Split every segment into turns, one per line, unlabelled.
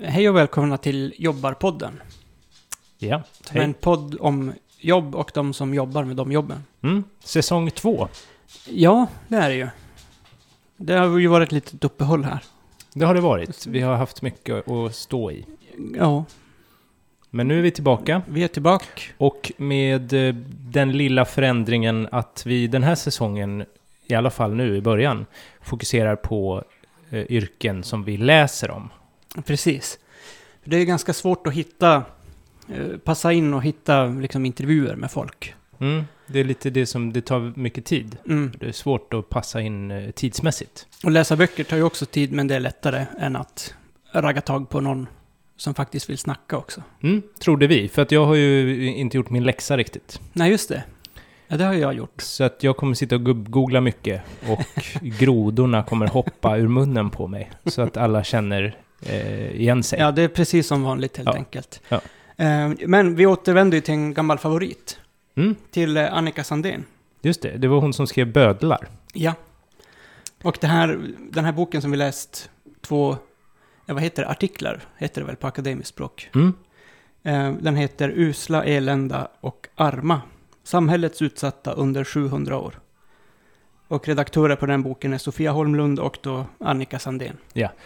Hej och välkomna till Jobbarpodden.
Ja,
Som är en
hej.
podd om jobb och de som jobbar med de jobben.
Mm, säsong två.
Ja, det är det ju. Det har ju varit ett litet uppehåll här.
Det har det varit. Vi har haft mycket att stå i.
Ja,
Men nu är vi tillbaka.
vi är tillbaka.
Och med eh, den lilla förändringen att vi den här säsongen, i alla fall nu i början, fokuserar på eh, yrken som vi läser om.
Precis. För Det är ju ganska svårt att hitta, eh, passa in och hitta liksom, intervjuer med folk.
Mm, det är lite det som, det tar mycket tid.
Mm.
Det är svårt att passa in eh, tidsmässigt.
Och läsa böcker tar ju också tid, men det är lättare än att ragga tag på någon som faktiskt vill snacka också.
Mm, trodde vi, för att jag har ju inte gjort min läxa riktigt.
Nej, just det. Ja, det har jag gjort.
Så att jag kommer sitta och gubb-googla mycket och grodorna kommer hoppa ur munnen på mig. Så att alla känner eh, igen sig.
Ja, det är precis som vanligt helt
Ja.
enkelt.
Ja.
Eh, Men vi återvänder ju till en gammal favorit,
Mm,
till eh, Annika Sandén.
just det, det var hon som skrev bödlar.
Ja. Och det här, den här boken som vi läst två, eh, vad heter det, artiklar, heter det väl på akademiskt språk.
Mm.
Eh, Den heter Usla, elända och arma. Samhällets utsatta under 700 år. Och redaktörer på den boken är Sofia Holmlund och då Annika Sandén.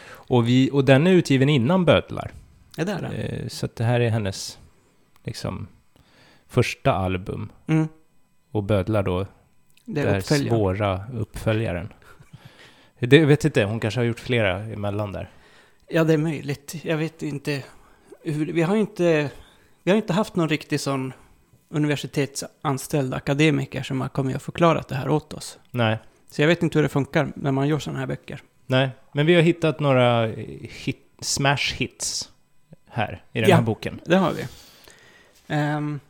Och, vi, och den är utgiven innan bödlar.
Ja, där är den.
Eh, så att det här är hennes liksom, första album.
Mm,
Och bödlar då,
det
det
är
är
uppföljaren.
svåra uppföljaren. Det, jag vet inte, hon kanske har gjort flera emellan där.
Ja, det är möjligt. Jag vet inte. Hur, vi, har ju inte vi har inte haft någon riktig sån universitetsanställd akademiker som har kommit och förklarat det här åt oss.
Nej,
Så jag vet inte hur det funkar när man gör sådana här böcker.
nej. Men vi har hittat några eh, hit, smash hits här i den
Ja.
här boken.
Det har vi. Ehm,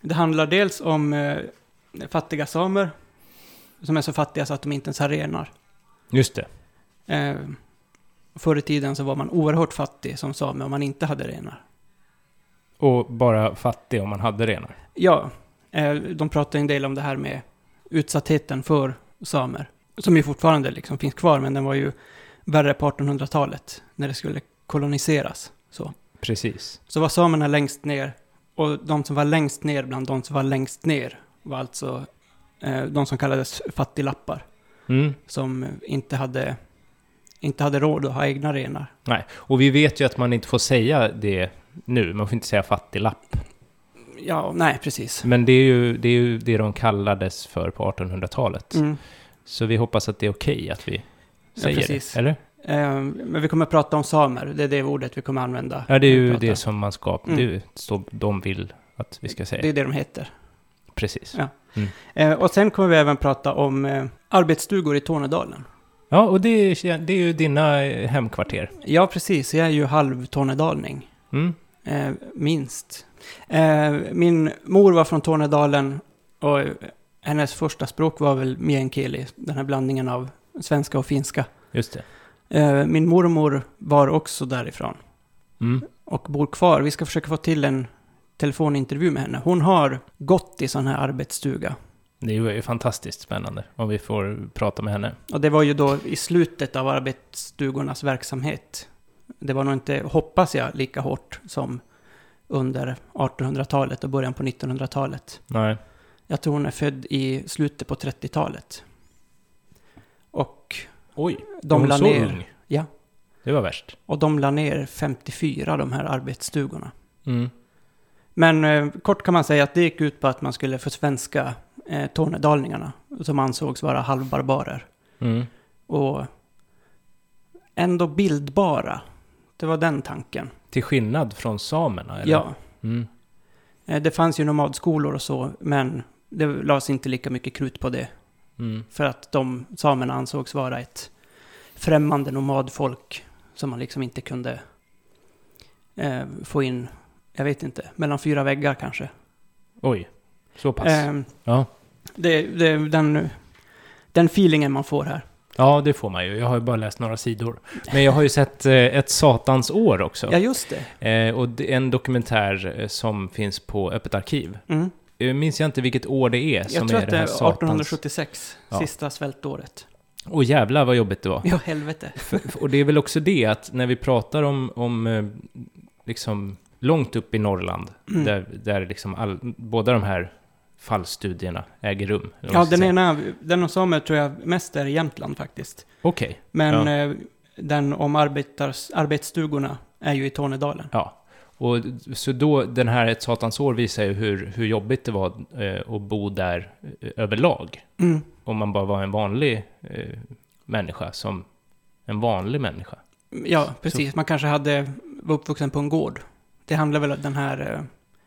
det handlar dels om eh, fattiga samer som är så fattiga så att de inte ens har renar.
Just det.
Ehm, förr i tiden så var man oerhört fattig som same om man inte hade renar.
Och bara fattig om man hade renar.
Ja, eh, de pratar en del om det här med utsattheten för samer. Som ju fortfarande liksom finns kvar, men den var ju värre på 1800-talet när det skulle koloniseras. Så.
Precis.
så var samerna längst ner och de som var längst ner bland de som var längst ner var alltså eh, de som kallades fattiglappar
Mm.
som inte hade, inte hade råd att ha egna renar.
Nej, och vi vet ju att man inte får säga det nu. Man får inte säga fattiglapp.
Ja, nej, precis.
Men det är ju det, är ju det de kallades för på 1800-talet.
Mm.
Så vi hoppas att det är okej att vi
Ja,
säger
precis.
det. Eller?
Eh, men vi kommer att prata om samer, det är det ordet vi kommer att använda.
Ja, det är
när vi
ju
pratar.
det som man ska...
Mm.
Det är ju så de vill att vi ska säga.
det är det de heter.
Precis.
Ja.
Ja.
Eh, och sen kommer vi även prata om eh, arbetsstugor i Tornedalen.
och det är, det är ju dina eh, hemkvarter.
Ja, precis. Jag är ju halv tornedalning,
Mm.
eh, minst. Eh, min mor var från Tornedalen och eh, hennes första språk var väl meänkieli, den här blandningen av svenska och finska.
Just det.
Eh, min mormor var också därifrån
Mm.
och bor kvar. Vi ska försöka få till en telefonintervju med henne. Hon har gått i sån här arbetsstuga.
Det är ju fantastiskt spännande om vi får prata med henne.
Och det var ju då i slutet av arbetsstugornas verksamhet. Det var nog inte, hoppas jag, lika hårt som under 1800-talet och början på 1900-talet.
Nej.
Jag tror hon är född i slutet på 30-talet. Och
Oj,
de
hon
la
så
ner,
ung?
Ja.
Det var värst.
och de la ner 54 de här arbetsstugorna.
Mm.
Men eh, kort kan man säga att det gick ut på att man skulle försvenska eh, tornedalningarna som ansågs vara halvbarbarer.
Mm.
och ändå bildbara. Det var den tanken.
Till skillnad från samerna? Eller?
Ja,
Mm.
eh, det fanns ju nomadskolor och så, men det lades inte lika mycket krut på det.
Mm.
För att de samerna ansågs vara ett främmande nomadfolk som man liksom inte kunde eh, få in, jag vet inte, mellan fyra väggar kanske.
Oj, så pass?
Eh,
Ja.
det, det, den, den feelingen man får här.
ja, det får man ju. Jag har ju bara läst några sidor. Men jag har ju sett eh, Ett satans år också.
Ja, just det.
Eh, och det är en dokumentär eh, som finns på Öppet arkiv.
Mm.
Eh, Minns jag inte vilket år det är som
Jag tror
är
att det
det
är
här satans...
1876,
Ja.
sista svältåret.
Och jävla vad jobbigt det var.
Ja, helvete.
F- Och det är väl också det att när vi pratar om, om eh, liksom långt upp i Norrland,
Mm.
där, där liksom all, båda de här fallstudierna äger rum. eller vad
Ja,
man ska
den
säga.
ena, den om samer tror jag mest är i Jämtland faktiskt.
Okej,
Men
Ja.
eh, den om arbetars, arbetsstugorna är ju i Tornedalen.
ja. Och så då, den här Ett satans år visar ju hur, hur jobbigt det var eh, att bo där eh, överlag.
Mm.
Om man bara var en vanlig eh, människa som en vanlig människa.
Ja, precis. Man kanske hade, var uppvuxen på en gård. Det handlar väl om den här eh,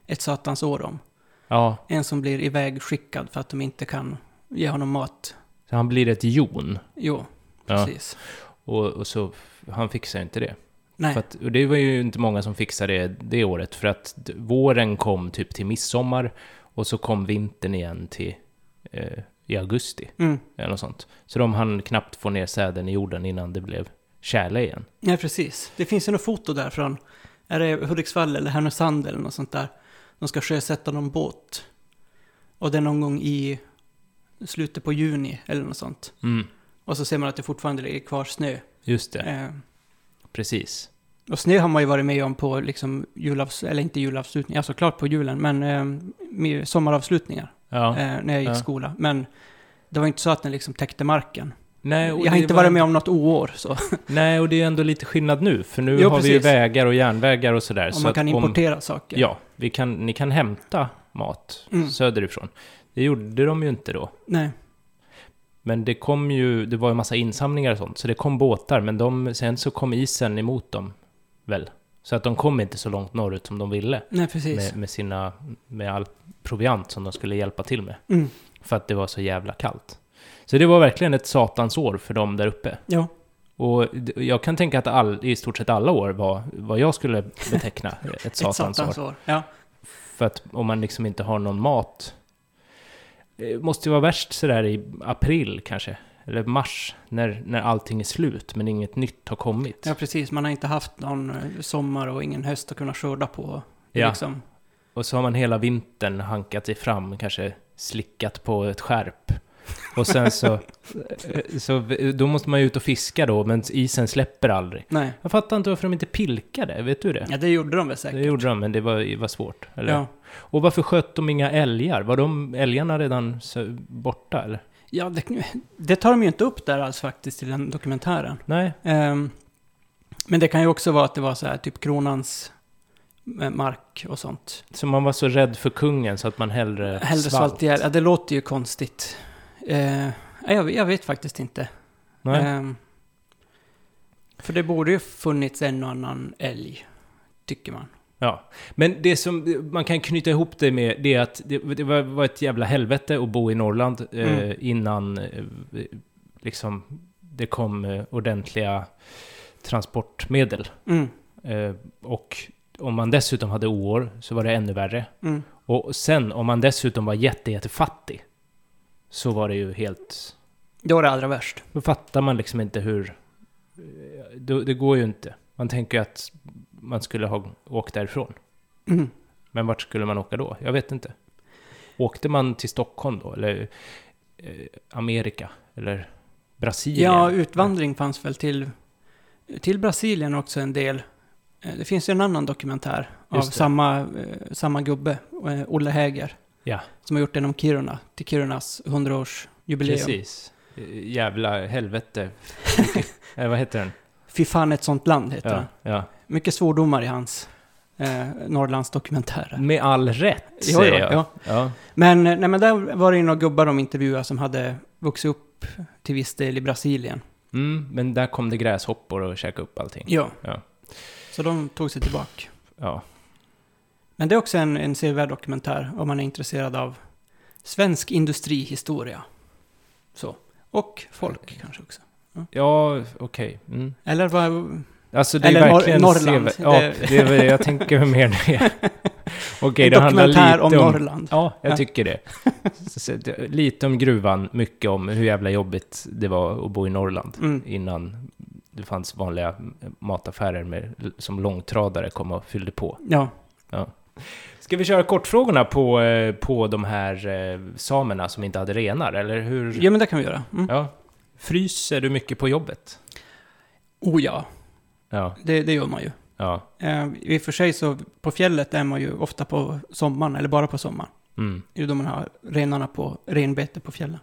Ett satans år om.
Ja,
En som blir ivägskickad för att de inte kan ge honom mat.
så han blir ett jon.
Jo,
Ja,
precis.
och, och så, han fixar ju inte det.
Nej,
För att, och det var ju inte många som fixade det det året, för att d- våren kom typ till midsommar och så kom vintern igen till eh, i augusti.
mm.
Eller något sånt. Så de hann knappt få ner säden i jorden innan det blev tjäle igen.
Nej precis. Det finns ju något foto där från, är det Hudiksvall eller Härnösand eller något sånt där. De ska sjösätta någon båt. Och det är någon gång i slutet på juni eller något sånt.
Mm,
Och så ser man att det fortfarande ligger kvar snö.
just det,
Eh,
precis.
och snö har man ju varit med om på liksom julavs, eller inte julavslutningar, ja såklart på julen, men eh, med sommaravslutningar
Ja.
eh, när jag gick
Ja.
i skola. Men det var inte så att den liksom täckte marken.
Nej, Eh, och
jag har
det
inte
var-
varit med om något oår så.
Nej, och det är ändå lite skillnad nu, för nu
Jo,
har vi ju
precis.
vägar och järnvägar och sådär.
Om
så
man
att
kan
om-
importera saker.
Ja, vi kan, ni kan hämta mat
Mm.
söderifrån. Det gjorde de ju inte då.
Nej.
Men det kom ju, det var ju massa insamlingar och sånt, så det kom båtar, men de, sen så kom isen emot dem, väl? Så att de kom inte så långt norrut som de ville
Nej, precis.
med, med sina, med all proviant som de skulle hjälpa till med,
Mm.
för att det var så jävla kallt. Så det var verkligen ett satans år för dem där uppe.
Ja.
Och d- jag kan tänka att all, i stort sett alla år var vad jag skulle beteckna ett satans, år.
Ja.
För att om man liksom inte har någon mat. Det måste ju vara värst sådär i april kanske. Eller mars. När, när allting är slut men inget nytt har kommit.
ja, precis. Man har inte haft någon eh, sommar och ingen höst att kunna skörda på.
Ja.
Liksom.
Och så har man hela vintern hankat sig fram. Kanske slickat på ett skärp. Och sen så, eh, så... Då måste man ju ut och fiska då. Men isen släpper aldrig.
Nej.
Jag fattar inte varför de inte pilkade. Vet du det?
Ja, det gjorde de väl
Det
säkert.
gjorde de, men det var, var svårt. Eller?
Ja.
Och varför sköt de inga älgar? Var de älgarna redan så- borta, eller?
Ja, det, det tar de ju inte upp där alls faktiskt i den dokumentären.
Nej,
Ehm, men det kan ju också vara att det var så här, typ kronans eh, mark och sånt.
Så man var så rädd för kungen så att man hellre,
Hellre svalt ihjäl. Ja, det låter ju konstigt. Eh, jag, jag vet faktiskt inte.
Nej.
Ehm, för det borde ju funnits en och annan älg, tycker man.
Ja. Men det som man kan knyta ihop det med, det är att det, det var- var ett jävla helvete att bo i Norrland eh,
Mm.
innan eh, liksom, det kom eh, ordentliga transportmedel.
Mm,
Eh, och om man dessutom hade oår så var det ännu värre.
mm.
Och sen om man dessutom var jätte, jättefattig så var det ju helt
Det var det allra värst.
Då fattar man liksom inte hur... eh, Det, det går ju inte. Man tänker ju att man skulle ha åkt därifrån.
Mm.
Men vart skulle man åka då? Jag vet inte. Åkte man till Stockholm då? Eller eh, Amerika? Eller Brasilien?
Ja, utvandring fanns väl till, till Brasilien också en del. Eh, Det finns ju en annan dokumentär av
Just det.
samma, eh, samma gubbe, eh, Olle Häger.
Ja.
Som har gjort den om Kiruna, till Kirunas 100-årsjubileum.
Precis. Eh, Jävla helvete. eh, vad heter den?
Fy fan ett sånt land heter
Ja,
den.
ja.
Mycket svordomar i hans eh, Norrlandsdokumentärer.
Med all rätt,
Jo,
säger
jo, ja.
jag. Mm. Ja.
Men, eh, nej, men där var det ju några gubbar de intervjuade som hade vuxit upp till viss del i Brasilien.
Mm, men där kom det gräshoppor och käkade upp allting.
Ja.
Ja.
Så de tog sig tillbaka.
Ja.
Men det är också en, en sevärd dokumentär om man är intresserad av svensk industrihistoria. Så. Och folk kanske också.
Ja, okej. Mm.
Eller vad...
Alltså det
Eller
är
nor-
verkligen
Norrland.
sevärt. Ja,
Det-
det är väl, jag tänker mer det. Okej,
en
det handlar lite
dokumentär
om...
om Norrland.
Ja, jag
Ja.
tycker det. Så- så det- Lite om gruvan, mycket om hur jävla jobbigt det var att bo i Norrland
Mm.
innan det fanns vanliga mataffärer med, som långtradare kom och fyllde på.
Ja.
Ska vi köra kortfrågorna på, eh, på de här eh, samerna som inte hade renar, eller hur?
ja, men det kan vi göra. Mm.
Ja. Fryser du mycket på jobbet?
Oh ja,
Ja.
det, det gör man ju.
Ja.
Eh, I och för sig så, på fjället är man ju ofta på sommaren, eller bara på sommaren.
Mm.
Det är då man har renarna på, renbete på fjällen.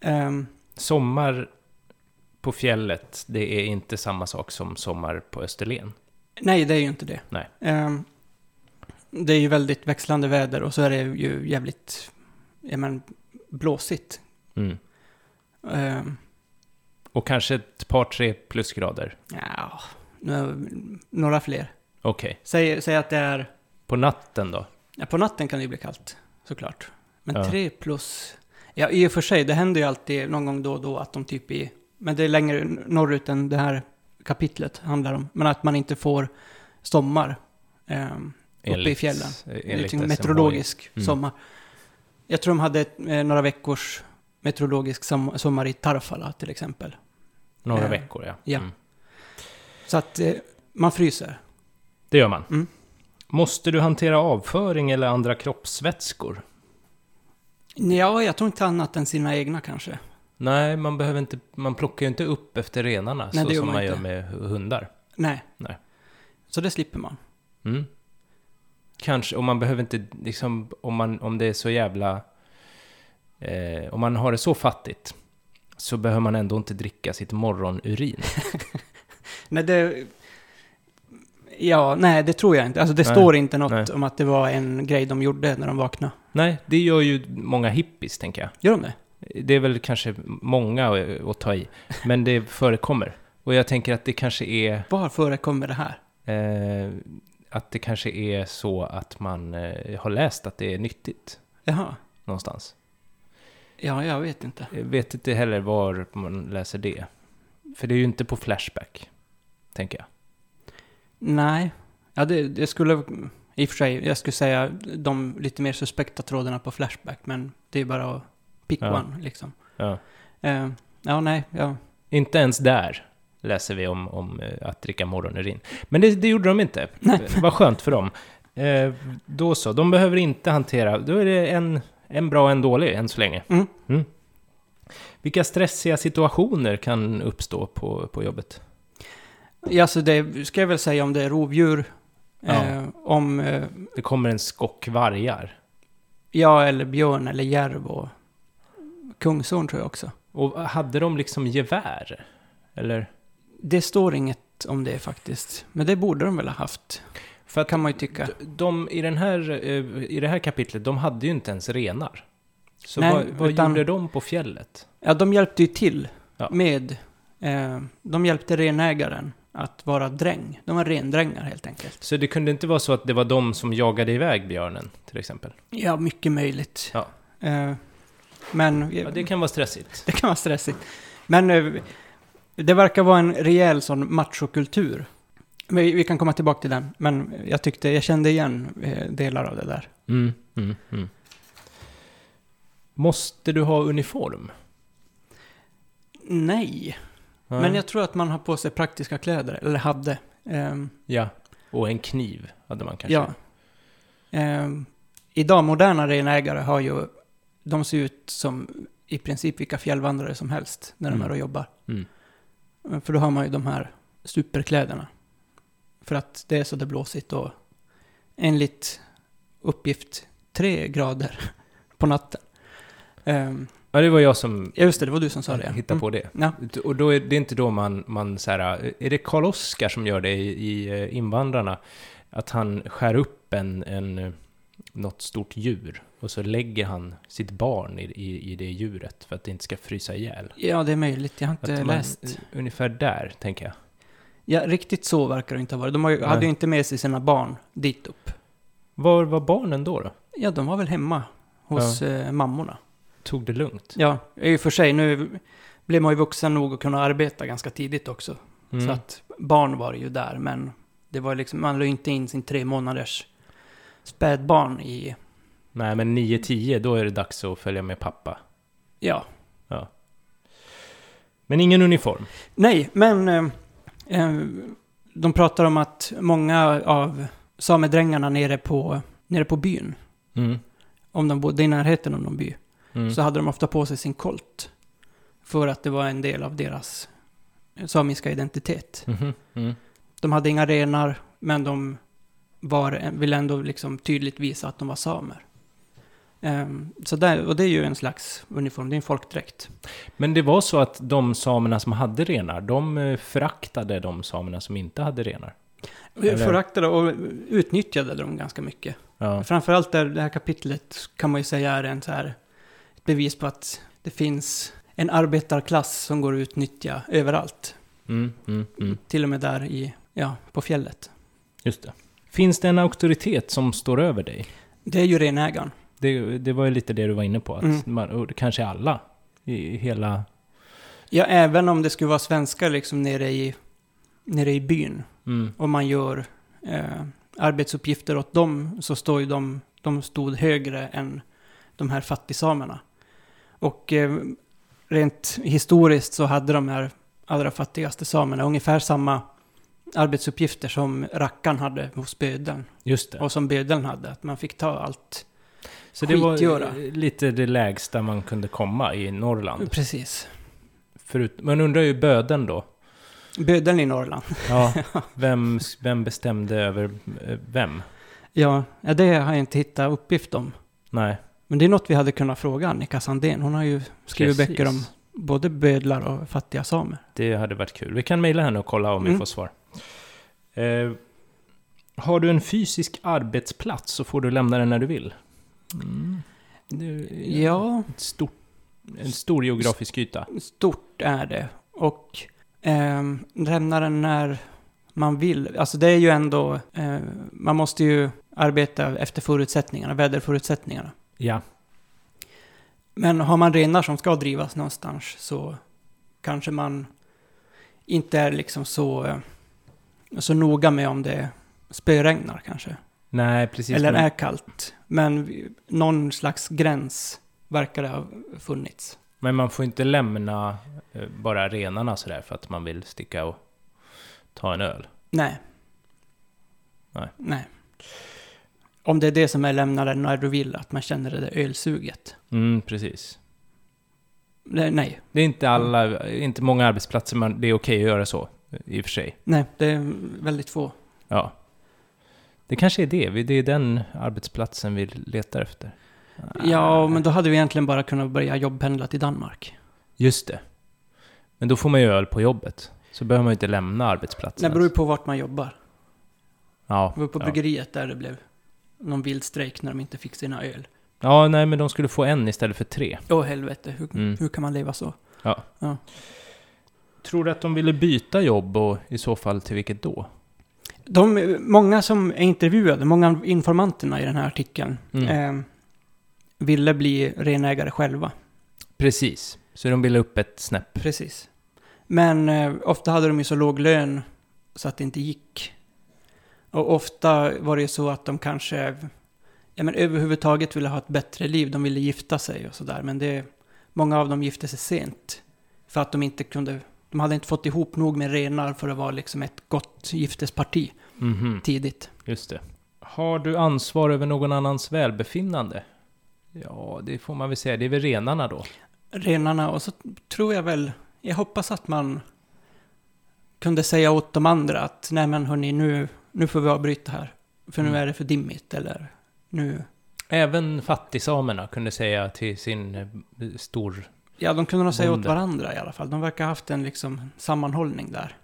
Ehm,
Sommar på fjället, det är inte samma sak som sommar på Österlen.
nej, det är ju inte det.
Nej.
Ehm, det är ju väldigt växlande väder och så är det ju jävligt, ja men, blåsigt.
Mm.
Ehm,
Och kanske ett par, tre plusgrader.
ja, nu, några fler.
Okej.
Säg, säg att det är,
På natten då?
ja, på natten kan det ju bli kallt, såklart. Men
Ja.
tre plus, ja i och för sig, det händer ju alltid någon gång då och då att de typ i, men det är längre norrut än det här kapitlet handlar om, men att man inte får sommar. ehm, Uppe i fjällen.
enligt
liksom
SMHI.
meteorologisk
Mm.
sommar. Jag tror de hade ett, eh, några veckors meteorologisk som- sommar i Tarfala till exempel.
Några
Eh,
veckor, ja.
ja.
Mm.
Så att eh, man fryser.
Det gör man.
Mm.
Måste du hantera avföring eller andra kroppsvätskor?
Ja, jag tror inte annat än sina egna kanske.
Nej, man, behöver inte, man plockar ju inte upp efter renarna
Nej,
så
det gör
som
man
man
inte.
gör med hu- hundar.
Nej.
Nej.
Så det slipper man.
Mm. Kanske, och man behöver inte, liksom, om, man, om det är så jävla... Eh, om man har det så fattigt så behöver man ändå inte dricka sitt morgonurin.
Nej, det... Ja, nej, det tror jag inte. Alltså det
Nej.
står inte något
Nej.
om att det var en grej de gjorde när de vaknade.
Nej, det gör ju många hippies, tänker jag.
Gör de det?
Det är väl kanske många att- att ta i, men det förekommer. Och jag tänker att det kanske är...
Var förekommer det här?
Eh, att det kanske är så att man eh, har läst att det är nyttigt
Jaha.
någonstans.
Ja, jag vet inte.
Jag Eh, vet inte heller var man läser det. För det är ju inte på Flashback, tänker jag.
Nej. Ja, det, det skulle... I och för sig, jag skulle säga de lite mer suspekta trådarna på Flashback, men det är bara att pick
Ja.
one, liksom.
Ja.
Eh, ja, nej, ja.
Inte ens där läser vi om, om eh, att dricka morgonurin. Men det, det gjorde de inte. Eh, Vad skönt för dem. Eh, då så, de behöver inte hantera... Då är det en, en bra och en dålig än så länge.
Mm.
Vilka stressiga situationer kan uppstå på, på jobbet?
ja så det ska jag väl säga om det är rovdjur,
Ja.
eh, om... Eh,
Det kommer en skock vargar.
ja, eller björn, eller järv och kungsörn tror jag också.
Och hade de liksom gevär? Eller?
Det står inget om det faktiskt, men det borde de väl ha haft,
För att
kan man ju tycka.
de, de i, den här, eh, i det här kapitlet, de hade ju inte ens renar. Så
Nej,
vad, vad
utan-
gjorde de på fjället?
Ja, de hjälpte ju till
Ja.
med... Eh, de hjälpte renägaren att vara dräng. De var rendrängar helt enkelt.
Så det kunde inte vara så att det var de som jagade iväg björnen, till exempel?
Ja, mycket möjligt.
Ja.
Eh, men eh,
Ja, det kan vara stressigt.
det kan vara stressigt. Men eh, det verkar vara en rejäl sån machokultur. Men Vi, vi kan komma tillbaka till den, men jag tyckte jag kände igen eh, delar av det där.
Mm, mm, mm. Måste du ha uniform?
Nej,
Ja.
men jag tror att man har på sig praktiska kläder, eller hade. Ehm,
Ja, och en kniv hade man kanske.
Ja. Ehm, idag, moderna renägare har ju... De ser ut som i princip vilka fjällvandrare som helst när de
Mm.
är och jobbar.
Mm.
Eh, För då har man ju de här superkläderna. För att det är så det blåsigt och enligt uppgift tre grader på natten. Ehm,
ja, det var jag som
ja, just det, det var du som sa det.
hittade på det.
Mm.
Och då är det inte då man, man så här, är det Karl Oskar som gör det i, i eh, Invandrarna? Att han skär upp en, en, eh, något stort djur och så lägger han sitt barn i, i, i det djuret för att det inte ska frysa ihjäl.
Mm. Ja. ja, det är möjligt. Jag har
Att
inte
man- eh,
läst.
Ungefär där, tänker jag.
Ja, riktigt så verkar det inte ha varit. De har ju,
Nej.
hade ju inte med sig sina barn dit upp.
Var var barnen då? då?
Ja, de var väl hemma hos eh, mammorna.
Tog det lugnt?
Ja, i och för sig, nu blev man ju vuxen nog att kunna arbeta ganska tidigt också.
Mm.
Så att barn var ju där, men det var liksom, man la ju inte in sin tre månaders spädbarn i,
Nej, men 9-10, då är det dags att följa med pappa.
ja.
Men ingen uniform.
Nej, men eh, eh, de pratar om att många av samedrängarna nere på, nere på byn,
Mm.
om de bodde i närheten av någon by,
Mm.
så hade de ofta på sig sin kolt. För att det var en del av deras samiska identitet.
Mhm, mm.
De hade inga renar, men de var, ville ändå liksom tydligt visa att de var samer. Ehm, så där, och det är ju en slags uniform, det är en folkdräkt.
Men det var så att de samerna som hade renar, de eh, föraktade de samerna som inte hade renar. Eller-
Föraktade och utnyttjade dem ganska mycket.
Ja.
Framförallt där det här kapitlet kan man ju säga är en så här, ett bevis på att det finns en arbetarklass som går att utnyttja överallt.
Mm, mm, mm.
Till och med där i, ja, på fjället.
Just det. Finns det en auktoritet som står över dig?
Det är ju renägaren.
Det, det var ju lite det du var inne på, att
Mm.
man, och det kanske alla i hela...
Ja, även om det skulle vara svenskar liksom nere i, nere i byn
Mm,
och man gör eh, arbetsuppgifter åt dem så står ju de, de stod högre än de här fattigsamerna. Och eh, rent historiskt så hade de här allra fattigaste samerna ungefär samma arbetsuppgifter som rackan hade hos bödeln
just det.
och som bödeln hade, att man fick ta allt.
Så det var
skitgöra.
eh, lite det lägsta man kunde komma i Norrland.
Precis.
Förut, man undrar ju böden då.
Bödeln i Norrland.
Ja, vem, vem bestämde över eh, vem?
Ja, ja, det har jag inte hittat uppgift om.
Nej.
Men det är något vi hade kunnat fråga Annika Sandén. Hon har ju skrivit
precis.
böcker om både bödlar och fattiga samer.
Det hade varit kul. Vi kan mejla henne och kolla om vi
Mm.
får svar. Eh, har du en fysisk arbetsplats så får du lämna den när du vill. Mm. Det är
Ja,
Ett stort, en stor geografisk yta.
stort är det. Och ehm, lämna den när man vill. Alltså det är ju ändå, eh, man måste ju arbeta efter förutsättningarna, väderförutsättningarna.
Ja.
Men har man renar som ska drivas någonstans så kanske man inte är liksom så, eh, så noga med om det spöregnar kanske.
Nej, precis.
Eller
men,
är kallt. Men vi- någon slags gräns verkar det ha funnits.
men man får inte lämna eh, bara renarna sådär för att man vill sticka och ta en öl.
Nej.
Nej.
Nej. Om det är det som är lämnaren när du vill, att man känner det där ölsuget.
Mm, precis.
Nej, nej,
Det är inte alla, inte många arbetsplatser man, det är okej att göra så, i och för sig.
nej, det är väldigt få.
Ja. Det kanske är det. Vi- Det är den arbetsplatsen vi letar efter.
Ja, men då hade vi egentligen bara kunnat börja jobbpendla till Danmark.
Just det. Men då får man ju öl på jobbet. Så behöver man ju inte lämna arbetsplatsen.
Det beror ju
ens.
på vart man jobbar.
Ja,
Det var på
ja.
bryggeriet där det blev någon vild strejk när de inte fick sina öl.
ja, nej, men de skulle få en istället för tre.
Åh helvete, hur,
Mm.
hur kan man leva så?
Tror du att de ville byta jobb och i så fall till vilket då?
De, många som är intervjuade, många av informanterna i den här artikeln,
Mm.
eh, ville bli renägare själva.
Precis. Så de ville upp ett snäpp.
Precis. Men eh, ofta hade de ju så låg lön så att det inte gick. Och ofta var det ju så att de kanske ja, men överhuvudtaget ville ha ett bättre liv. De ville gifta sig och sådär. Men det, många av dem gifte sig sent. För att de inte kunde... De hade inte fått ihop nog med renar för att vara liksom ett gott giftesparti
Mhm,
tidigt.
Just det. Har du ansvar över någon annans välbefinnande? Ja, det får man väl säga. Det är väl renarna då?
Renarna och så tror jag väl... Jag hoppas att man kunde säga åt de andra att nej men hörni, nu, nu får vi avbryta här. För nu
Mm.
är det för dimmigt eller nu...
Även fattigsamerna kunde säga till sin eh, stor...
Ja, de kunde nog säga åt
Bonde.
varandra i alla fall. De verkar ha haft en liksom sammanhållning där.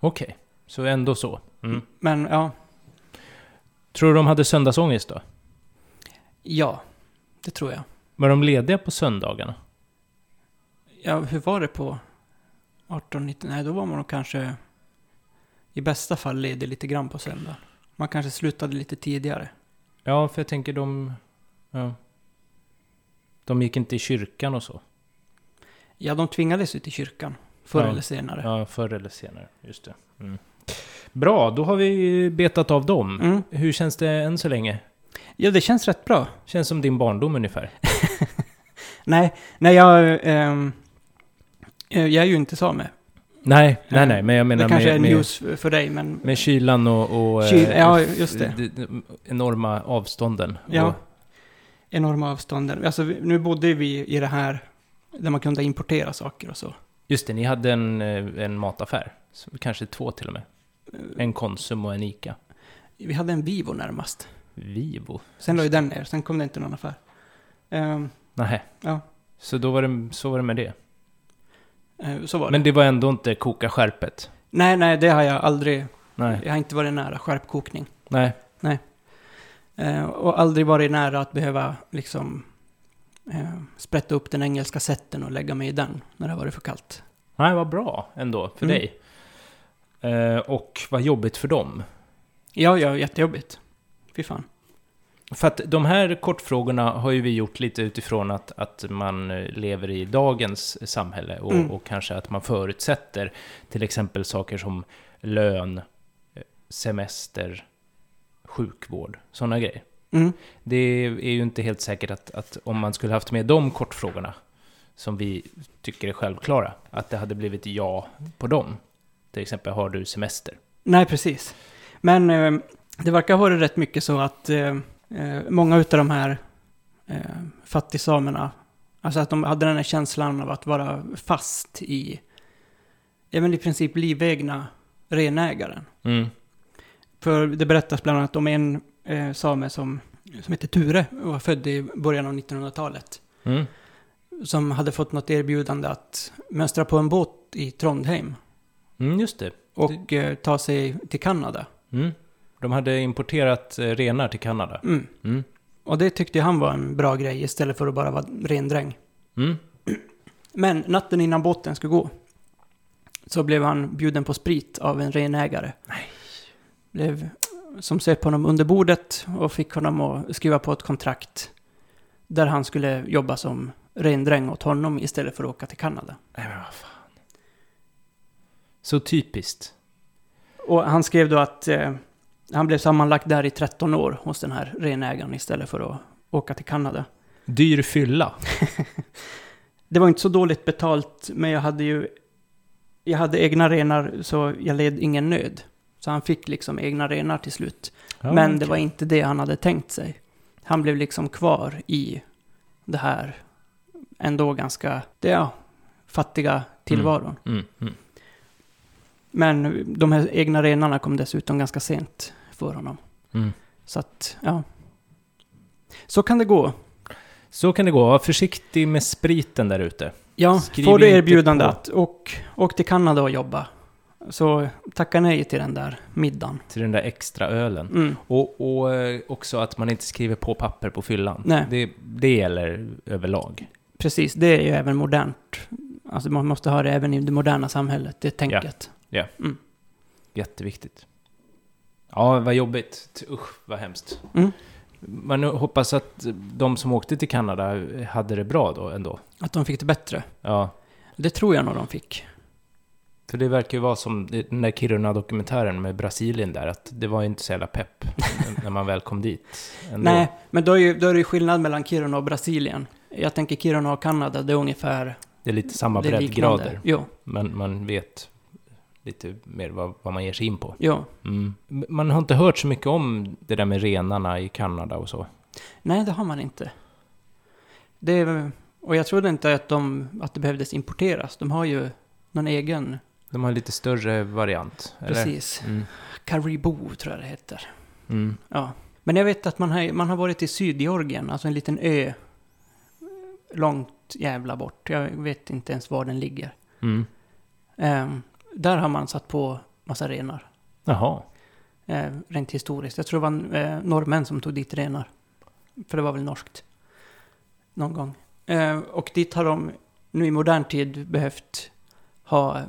Okej, så ändå så. Mm.
Men ja,
Tror du de hade söndagsångest då?
ja, det tror jag.
Var de lediga på söndagarna?
Ja, hur var det på 18, 19? Nej, då var man nog kanske i bästa fall ledig lite grann på söndag. Man kanske slutade lite tidigare.
Ja, för jag tänker de... Ja. De gick inte i kyrkan och så?
Ja, de tvingades ju till kyrkan förr
Ja.
eller senare.
Ja, förr eller senare. Just det. Mm. Bra, då har vi betat av dem.
Mm.
Hur känns det än så länge?
Ja, det känns rätt bra.
Känns som din barndom ungefär.
Nej, nej jag, ehm, eh, jag är ju inte same.
Nej, nej, nej, men jag menar
det kanske
med,
är
med,
news f- för dig, men
med kylan och... och eh,
Kyl- ja, just det.
d- d- enorma avstånden.
Ja.
Och,
enorma avstånden. Alltså, vi- nu bodde vi i det här Där man kunde importera saker och så.
Just det, ni hade en, eh, en mataffär. Så Kanske två till och med. En Konsum och en Ica.
Vi hade en Vivo närmast.
Vivo?
Sen la ju den ner, sen kom det inte någon affär. Ehm,
Nej.
Ja.
Så då var det, så var det med det.
eh, så var det.
Men det var ändå inte koka skärpet?
Nej, nej, det har jag aldrig.
Nej.
Jag har inte varit nära skärpkokning.
Nej.
Eh, och aldrig varit nära att behöva liksom eh, sprätta upp den engelska sätten och lägga mig i den när det har varit för kallt.
Nej, vad bra ändå för
Mm.
dig. Eh, och vad jobbigt för dem.
Ja, ja, jättejobbigt. Fy fan.
För att de här kortfrågorna har ju vi gjort lite utifrån att, att man eh, lever i dagens samhälle och,
Mm.
och kanske att man förutsätter till exempel saker som lön, eh, semester, sjukvård, sådana grejer.
Mm.
Det är ju inte helt säkert att, att om man skulle haft med de kortfrågorna som vi tycker är självklara, att det hade blivit ja på dem. Till exempel, har du semester?
Nej, precis. Men eh, det verkar ha varit rätt mycket så att eh, eh, många utav de här eh, fattigsamerna, alltså att de hade den här känslan av att vara fast i, ja men i princip livegna renägaren.
Mm.
För det berättas bland annat om en eh, same som, som heter Ture och var född i början av 1900-talet.
Mm.
Som hade fått något erbjudande att mönstra på en båt i Trondheim
Mm, just det.
och eh, ta sig till Kanada.
Mm. De hade importerat eh, renar till Kanada.
Mm.
Mm.
Och det tyckte han var en bra grej istället för att bara vara rendräng.
Mm.
Men natten innan båten skulle gå så blev han bjuden på sprit av en renägare. Nej. Blev, som söp honom under bordet och fick honom att skriva på ett kontrakt där han skulle jobba som rendräng åt honom istället för att åka till Kanada.
Nej, men vad fan. Så typiskt.
Och han skrev då att eh, han blev sammanlagt där i 13 år hos den här renägaren istället för att åka till Kanada.
Dyr fylla.
Det var inte så dåligt betalt, men jag hade ju... Jag hade egna renar, så jag led ingen nöd. Så han fick liksom egna renar till slut.
Ja,
men det
okej.
var inte det han hade tänkt sig. Han blev liksom kvar i det här ändå ganska, det, ja, fattiga tillvaron.
Mm. Mm.
Men de här egna renarna kom dessutom ganska sent för honom.
Mm.
Så att, ja. Så kan det gå.
Så kan det gå. Var försiktig med spriten där ute.
Ja,
Skriv
får du
inte
erbjudande
på.
att åk, åk till Kanada och jobba. Så tacka nej till den där middagen.
Till den där extra ölen.
Mm.
Och, och eh, också att man inte skriver på papper på fyllan.
Nej.
Det, det gäller överlag.
Precis, det är ju även modernt. Alltså man måste ha det även i det moderna samhället, det tänket.
Jätteviktigt. Ja, vad jobbigt. T- Usch, vad hemskt.
Mm.
Man hoppas att de som åkte till Kanada hade det bra då ändå.
Att de fick det bättre.
Ja,
Det tror jag nog de fick.
för det verkar ju vara som den där Kiruna-dokumentären med Brasilien där, att det var ju inte så jävla pepp när man väl kom dit. Ändå.
Nej, men då är, ju, då är det ju skillnad mellan Kiruna och Brasilien. Jag tänker Kiruna och Kanada, det är ungefär...
Det är lite samma
det är liknande.
breddgrader,
Jo,
men man vet lite mer vad, vad man ger sig in på.
jo.
Mm. Man har inte hört så mycket om det där med renarna i Kanada och så.
Nej, det har man inte. Det är, och jag trodde inte att, de, att det behövdes importeras. De har ju någon egen,
De har en lite större variant, eller?
precis.
Mm.
Caribou tror jag det heter.
Mm.
Ja. Men jag vet att man har, man har varit i Sydgeorgien, alltså en liten ö. Långt jävla bort. Jag vet inte ens var den ligger.
Mm.
Ehm, där har man satt på massa renar.
Jaha.
Ehm, rent historiskt. Jag tror det var eh, norrmän som tog dit renar. För det var väl norskt. Någon gång. Ehm, och dit har de nu i modern tid behövt ha eh,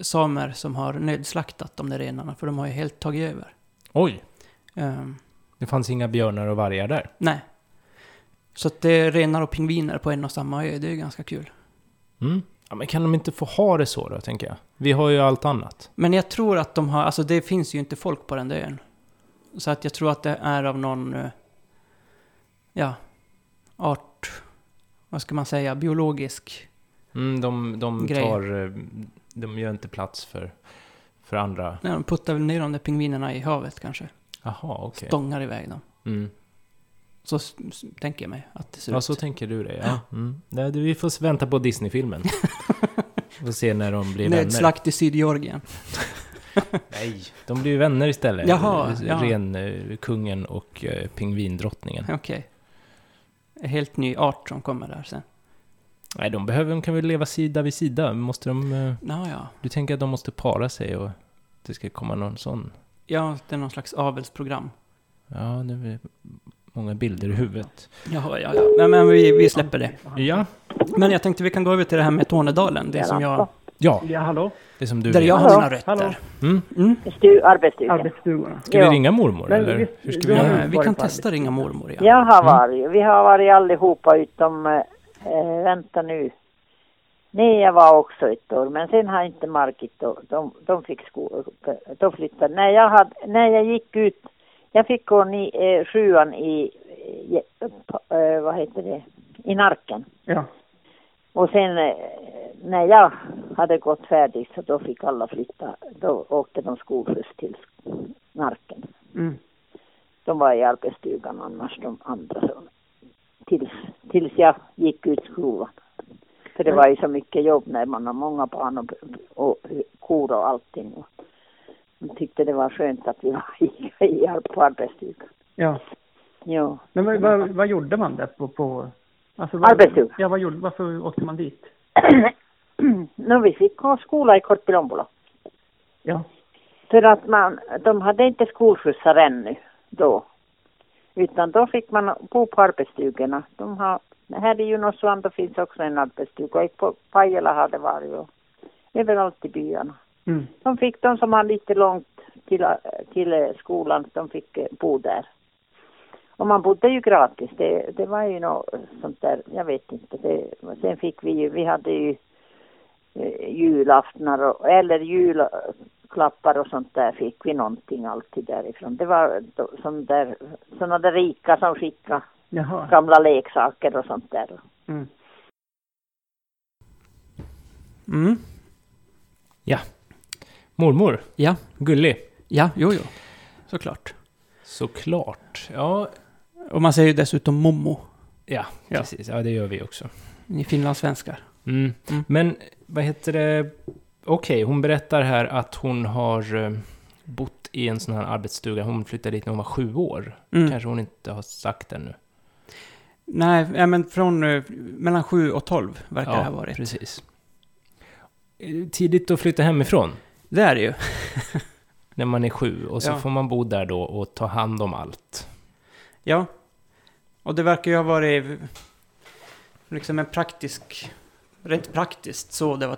samer som har nödslaktat de där renarna. För de har ju helt tagit över.
Oj,
Ehm,
det fanns inga björnar och vargar där.
Nej. Så att det är renar och pingviner på en och samma ö, det är ju ganska kul.
Mm. Ja, men kan de inte få ha det så då, tänker jag? Vi har ju allt annat.
Men jag tror att de har, alltså det finns ju inte folk på den där ön. Så att jag tror att det är av någon, eh, ja, art, vad ska man säga, biologisk.
Mm, de, de
Grejer.
tar... eh, De gör inte plats för, för andra.
Nej, de puttar väl ner de där pingvinerna i havet kanske.
Jaha, okej.
Stångar iväg dem.
Mm.
Så s- s- tänker jag mig att det ser
Ja,
ut.
så tänker du det, ja. Mm. Nej, det- vi får vänta på Disney-filmen. Får se när de blir vänner.
Nedslakt i Sydgeorgien.
Nej, de blir ju vänner istället. Eh,
Jaha, ja.
Renkungen och eh, pingvindrottningen.
Okej. En helt ny art som kommer där sen.
Nej, de behöver, de kan väl leva sida vid sida. Måste de, eh,
Ja, ja.
du tänker att de måste para sig och det ska komma någon sån?
Ja, det är någon slags avelsprogram.
Ja, nu är det många bilder i huvudet.
Jaha, ja, ja. Nej, men vi, vi släpper det.
Ja,
Men jag tänkte vi kan gå över till det här med Tornedalen. Det som jag...
ja
Ja, hallå?
det som du
Där
vill.
jag har
Hallå,
mina rötter.
Mm.
Mm.
Stu, arbetsstugan.
Arbetsstugorna.
Ska
Ja.
vi ringa mormor
Men
eller?
visst,
Hur ska vi
jag har
göra?
Ja,
ju
vi
varit
kan
på
testa ringa mormor, ja.
Jag har varit, vi har varit allihopa utom, eh, vänta nu, nej jag var också ett år, men sen har inte Margit, då, de, de fick sko, de flyttade. När jag, hade, när jag gick ut, jag fick gå ni, eh, sjuan i, eh, pa- eh, vad heter det, i Narken.
Ja.
Och sen eh, när jag hade gått färdigt så då fick alla flytta, då åkte de skolskjuts till Narken.
Mm.
De var i arbetsstugan annars de andra. Så. Tills, tills jag gick ut skolan. För det var ju så mycket jobb när man har många barn och, och kor och allting. Och de tyckte det var skönt att vi var i, i, ar- på arbetsstugan.
ja.
Jo.
Men vad, vad, vad gjorde man där på... på alltså,
Arbetsstuga.
Ja, vad gjorde, varför åkte man dit?
nu vi fick ha skola i Korpilombolo.
Ja.
För att man, de hade inte skolskjutsar ännu då. Utan då fick man bo på arbetsstugorna. De har, här i Junosuando finns också en arbetsstuga. I Pa- Pajala har det varit och överallt i byarna.
Mm.
De fick de som har lite långt till, eh, till eh, skolan, de fick eh, bo där. Och man bodde ju gratis. Det, det var ju något sånt där, jag vet inte. Det, sen fick vi ju, vi hade ju eh, julaftnar och, eller julklappar och sånt där fick vi någonting alltid därifrån. Det var då- sån där, såna där rika som skickade
Jaha.
gamla leksaker och sånt där.
Mm.
Mm.
Mormor,
Ja,
gullig.
ja, jo, jo. Såklart.
Såklart. Ja,
Och man säger ju dessutom mommo
ja,
Ja.
precis. Ja, det gör vi också.
i finlandssvenskar.
Mm.
Mm.
Men vad heter det? Okej, hon berättar här att hon har eh, bott i en sån här arbetsstuga. Hon flyttade dit när hon var sju år.
Mm.
Kanske hon inte har sagt ännu.
Nej, ja, men från eh, mellan 7 och 12 verkar det ha varit.
precis. Eh, Tidigt att flytta hemifrån
Det är det ju.
när man är sju och så
Ja.
får man bo där då och ta hand om allt.
Ja. Och det verkar ju ha varit liksom en praktisk, rent praktiskt så det var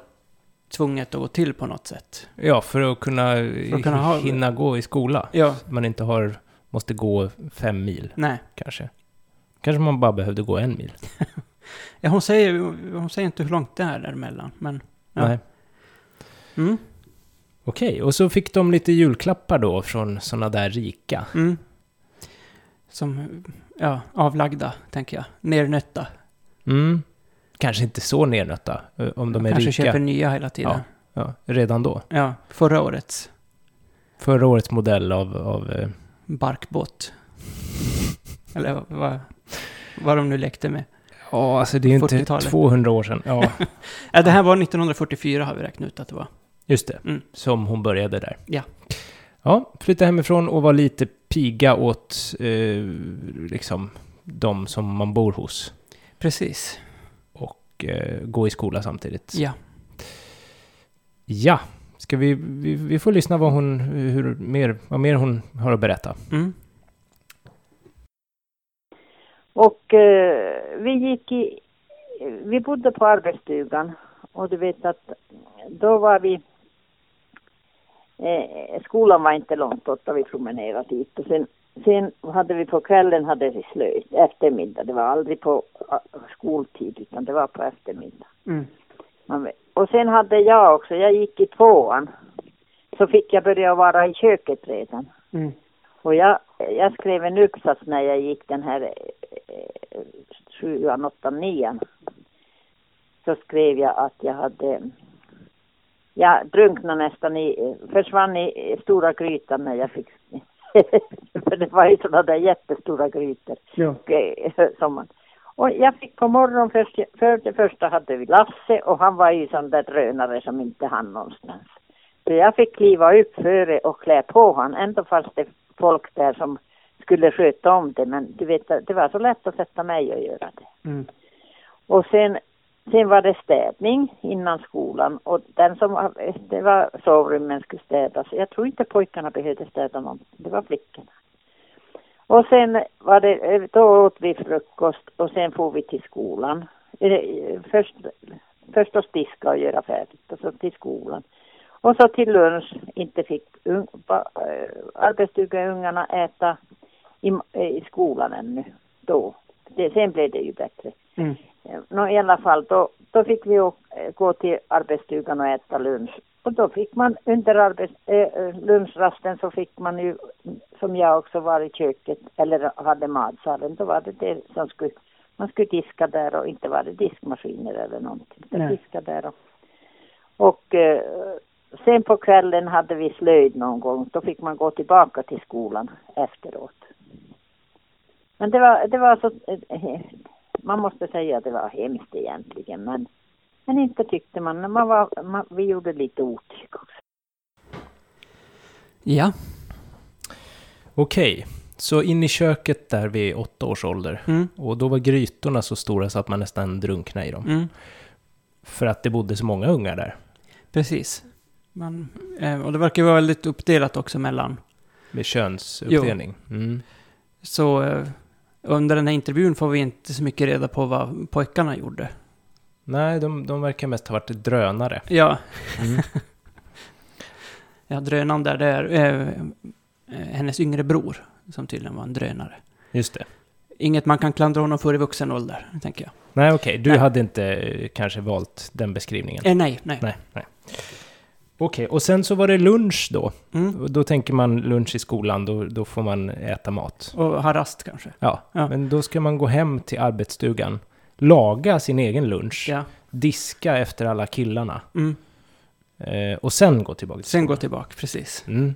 tvunget att gå till på något sätt.
Ja, för att kunna,
att kunna ha-
hinna gå i skola.
Ja.
Man inte har, måste gå fem mil
Nej,
kanske. Kanske man bara behövde gå en mil.
ja, hon, säger, hon säger inte hur långt det är däremellan, men... Ja.
Nej.
Mm,
Okej, och så fick de lite julklappar då från såna där rika.
mm. Som, ja, avlagda, tänker jag. Nernötta.
Mm. Kanske inte så nernötta, eh, om de är
Kanske
rika.
köper nya hela tiden.
Ja, redan då.
Ja. förra årets
Förra årets modell av, av eh,
barkbåt. Eller vad- vad, vad de nu lekte med.
ja, alltså det är ju inte
40-talet.
200 år sedan. Ja,
Ja, det här var 1944 har vi räknat ut att det var.
just det.
Mm.
Som hon började där.
Ja.
Ja, flytta hemifrån och vara lite piga åt, eh, liksom, de som man bor hos.
Precis.
Och eh, gå i skola samtidigt.
Ja.
Ja, ska vi, vi, vi får lyssna vad hon, hur, mer, vad mer hon har att berätta.
Mm.
Och eh, vi gick i, vi bodde på arbetsstugan och du vet att då var vi, eh, skolan var inte långt bort och vi promenerade dit och sen, sen hade vi på kvällen hade vi slöjd, eftermiddag, det var aldrig på ah, skoltid utan det var på eftermiddag.
Mm.
Man vet. Och sen hade jag också, jag gick i tvåan, så fick jag börja vara i köket redan.
Mm.
Och jag, jag skrev en uppsats när jag gick den här eh, sjuan, åttan, nian. Så skrev jag att jag hade, jag drunknade nästan i, försvann i stora grytan när jag fick För det var ju sådana där jättestora grytor
Ja.
eh, som man. Och jag fick på morgonen först, för det första hade vi Lasse och han var ju sån där drönare som inte hann någonstans. Så jag fick kliva upp före och klä på han. Ändå fanns det folk där som skulle sköta om det men du vet det var så lätt att sätta mig och göra det.
Mm.
Och sen, sen var det städning innan skolan och den som, det var sovrummen skulle städas. Jag tror inte pojkarna behövde städa någonting, det var flickorna. Och sen var det, eh, då åt vi frukost och sen får vi till skolan. Eh, Först, först att diska och göra färdigt och så till skolan. Och så till lunch, inte fick un, ba, eh, arbetsstugeungarna äta i, eh, i skolan ännu då. Det, sen blev det ju bättre.
Mm.
Eh, No, I alla fall, då, då fick vi å- eh, gå till arbetsstugan och äta lunch. Och då fick man under arbets, eh, eh, lunchrasten så fick man ju, som jag också var i köket, eller hade matsalen, då var det det som skulle, man skulle diska där och inte var det diskmaskiner eller någonting. Utan
Nej.
diska där och, och eh, sen på kvällen hade vi slöjd någon gång, då fick man gå tillbaka till skolan efteråt. Men det var, det var så, eh, man måste säga att det var hemskt egentligen, men, men inte tyckte man. man, var, man vi gjorde lite otyg också.
Ja.
Okej, så in i köket där vid åtta års ålder.
Mm.
Och då var grytorna så stora så att man nästan drunknade i dem.
Mm.
För att det bodde så många ungar där.
Precis. Man, eh, och det verkar vara väldigt uppdelat också mellan.
Med könsuppdelning. Mm.
Så eh, under den här intervjun får vi inte så mycket reda på vad pojkarna gjorde.
Nej, de, de verkar mest ha varit drönare.
Ja,
Mm.
ja drönaren där, det är eh, eh, hennes yngre bror som tydligen var en drönare.
Just det.
Inget man kan klandra honom för i vuxen ålder, tänker jag.
Nej, okej. Du
Nej.
hade inte eh, kanske valt den beskrivningen.
Eh, nej, nej.
Nej, nej. Okej, och sen så var det lunch då.
Mm.
Och Då tänker man lunch i skolan, då, då får man äta mat.
Och har rast kanske.
Ja,
Ja.
men då ska man gå hem till arbetsstugan, laga sin egen lunch,
Ja.
diska efter alla killarna
Mm.
eh, och sen gå tillbaka till
Sen gå
skolan.
tillbaka, precis.
Mm.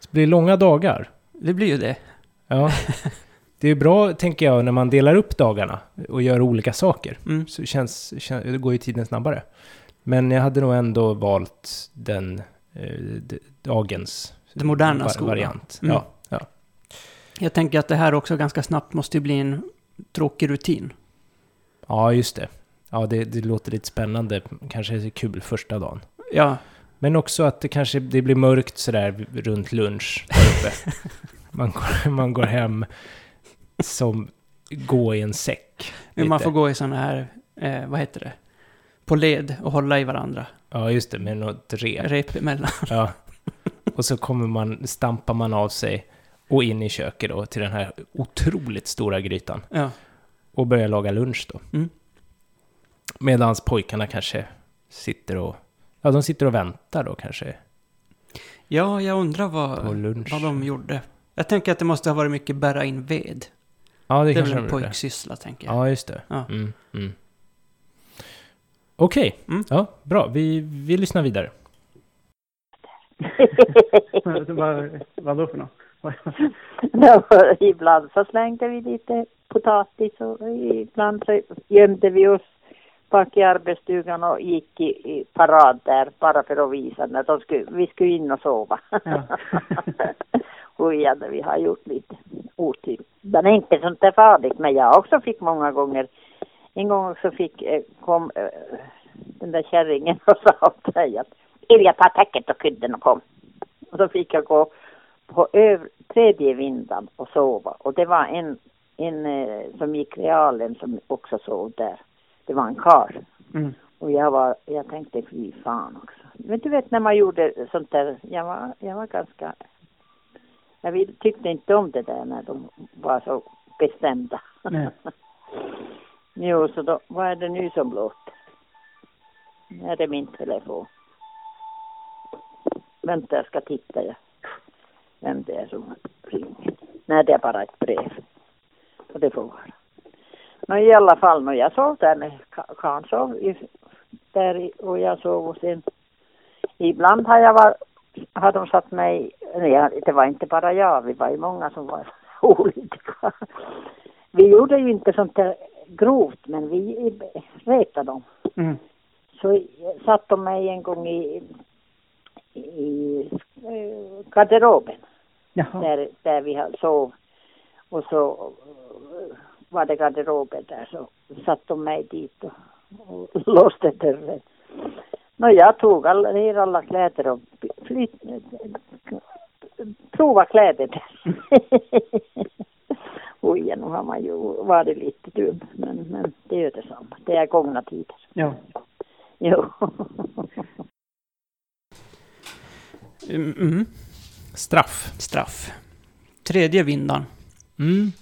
Så det blir långa dagar.
Det blir ju det.
Ja. Det är bra, tänker jag, när man delar upp dagarna och gör olika saker.
Mm.
Så känns, kän- det går ju tiden snabbare. Men jag hade nog ändå valt den eh, d- dagens
Den moderna
va-
skolan.
variant.
Mm.
Ja, ja.
Jag tänker att det här också ganska snabbt måste ju bli en tråkig rutin.
ja, just det. Ja, det, det låter lite spännande. Kanske är det kul första dagen.
Ja,
Men också att det kanske det blir mörkt sådär runt lunch där uppe. man, går, man går hem som gå i en säck.
men man
lite.
får gå i sådana här, eh, vad heter det, på led och hålla i varandra.
Ja, just det, med något rep.
Rep emellan.
Ja. Och så kommer man, stampar man av sig och in i köket då till den här otroligt stora grytan
Ja.
och börjar laga lunch då.
Mm.
Medan pojkarna kanske sitter och, ja de sitter och väntar då kanske
ja, jag undrar
på
vad,
lunch.
vad de gjorde. Jag tänker att det måste ha varit mycket bära in ved.
ja, det,
Det är väl en
kanske de gjorde.
pojksyssla, tänker jag.
Ja, just det.
Ja.
Mm, mm. Okej,
Mm.
ja, bra. Vi, vi lyssnar vidare.
Men Vad, vad då för något?
Ja, och ibland så slängde vi lite potatis och ibland så gömde vi oss bak i arbetsstugan och gick i, i parad där bara för att visa när de skulle, vi skulle in och sova.
Ja.
och igen, vi har gjort lite otyg. Men inte sånt där farligt. Men jag också fick många gånger, en gång också fick, eh, kom eh, den där kärringen och sa åt mig att Ilja ta täcket och kudden och kom. Och så fick jag gå på över, tredje vindan och sova. Och det var en, en eh, som gick realen som också sov där. Det var en karl.
Mm.
Och jag, var, jag tänkte fy fan också. Men du vet när man gjorde sånt där, jag var, jag var ganska... Jag vill, tyckte inte om det där när de var så bestämda.
Nej.
jo, så då, vad är det nu som låter? Nu är det min telefon. Vänta, jag ska titta. Jag. Vem det är som ringer. Nej, det är bara ett brev. Och det får vara. Men i alla fall, när jag sov där med ka- karln sov i, där i, och jag sov och sen ibland har jag var, har de satt mig ja, det var inte bara jag, vi var ju många som var olika. Vi gjorde ju inte sånt där grovt, men vi retade dem.
Mm.
Så satt de mig en gång i, i, i eh, garderoben
Jaha.
där, där vi ha- sov. Och så eh, var det garderoben där så satte de mig dit och, och låste dörren. Nå, jag tog alla, ner alla kläder och flyt, prova kläder där. Oj, nu har man ju varit lite dum, men, men det är ju detsamma. Det är gångna tider.
Ja.
Jo.
Mm, mm.
Straff.
Straff. Tredje vinnaren.
Mm.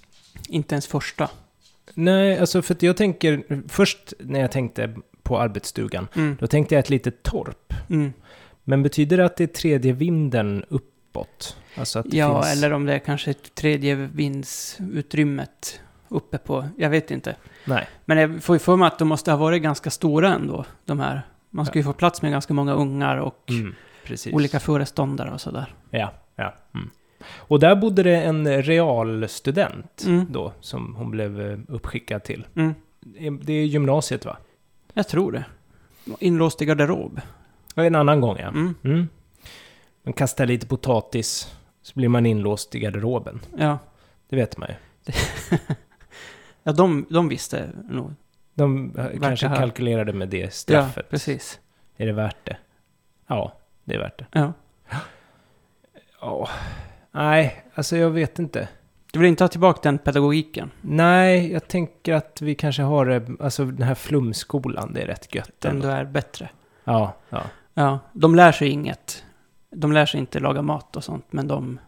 Inte ens första.
Nej, alltså för att jag tänker, först när jag tänkte på arbetsstugan,
Mm.
då tänkte jag ett litet torp.
Mm.
Men betyder det att det är tredje vinden uppåt? Alltså att det
Ja,
finns...
eller om det är kanske ett tredje vindsutrymmet uppe på, jag vet inte.
Nej.
Men jag får ju för mig att de måste ha varit ganska stora ändå, de här. Man ska ju få plats med ganska många ungar och
Mm, precis.
olika föreståndare och sådär.
Ja, ja. Mm. Och där bodde det en realstudent
Mm.
då, som hon blev eh, uppskickad till.
Mm.
Det är gymnasiet va?
Jag tror det. Inlåst i garderob.
Ja, En annan gång ja.
Mm.
Mm. Man kastar lite potatis, så blir man inlåst i garderoben.
Ja,
Det vet man ju.
ja de, de visste nog.
De eh, kanske
ha-
kalkylerade med det
Ja,
straffet.
precis.
Är det värt det? Ja, det är värt det.
Ja.
Ja. Nej, alltså jag vet inte.
Du vill inte ha tillbaka den pedagogiken?
Nej, jag tänker att vi kanske har eh, alltså den här flumskolan, det är rätt gött.
Den
ändå.
du är bättre?
Ja, ja.
Ja, de lär sig inget. De lär sig inte laga mat och sånt, men de...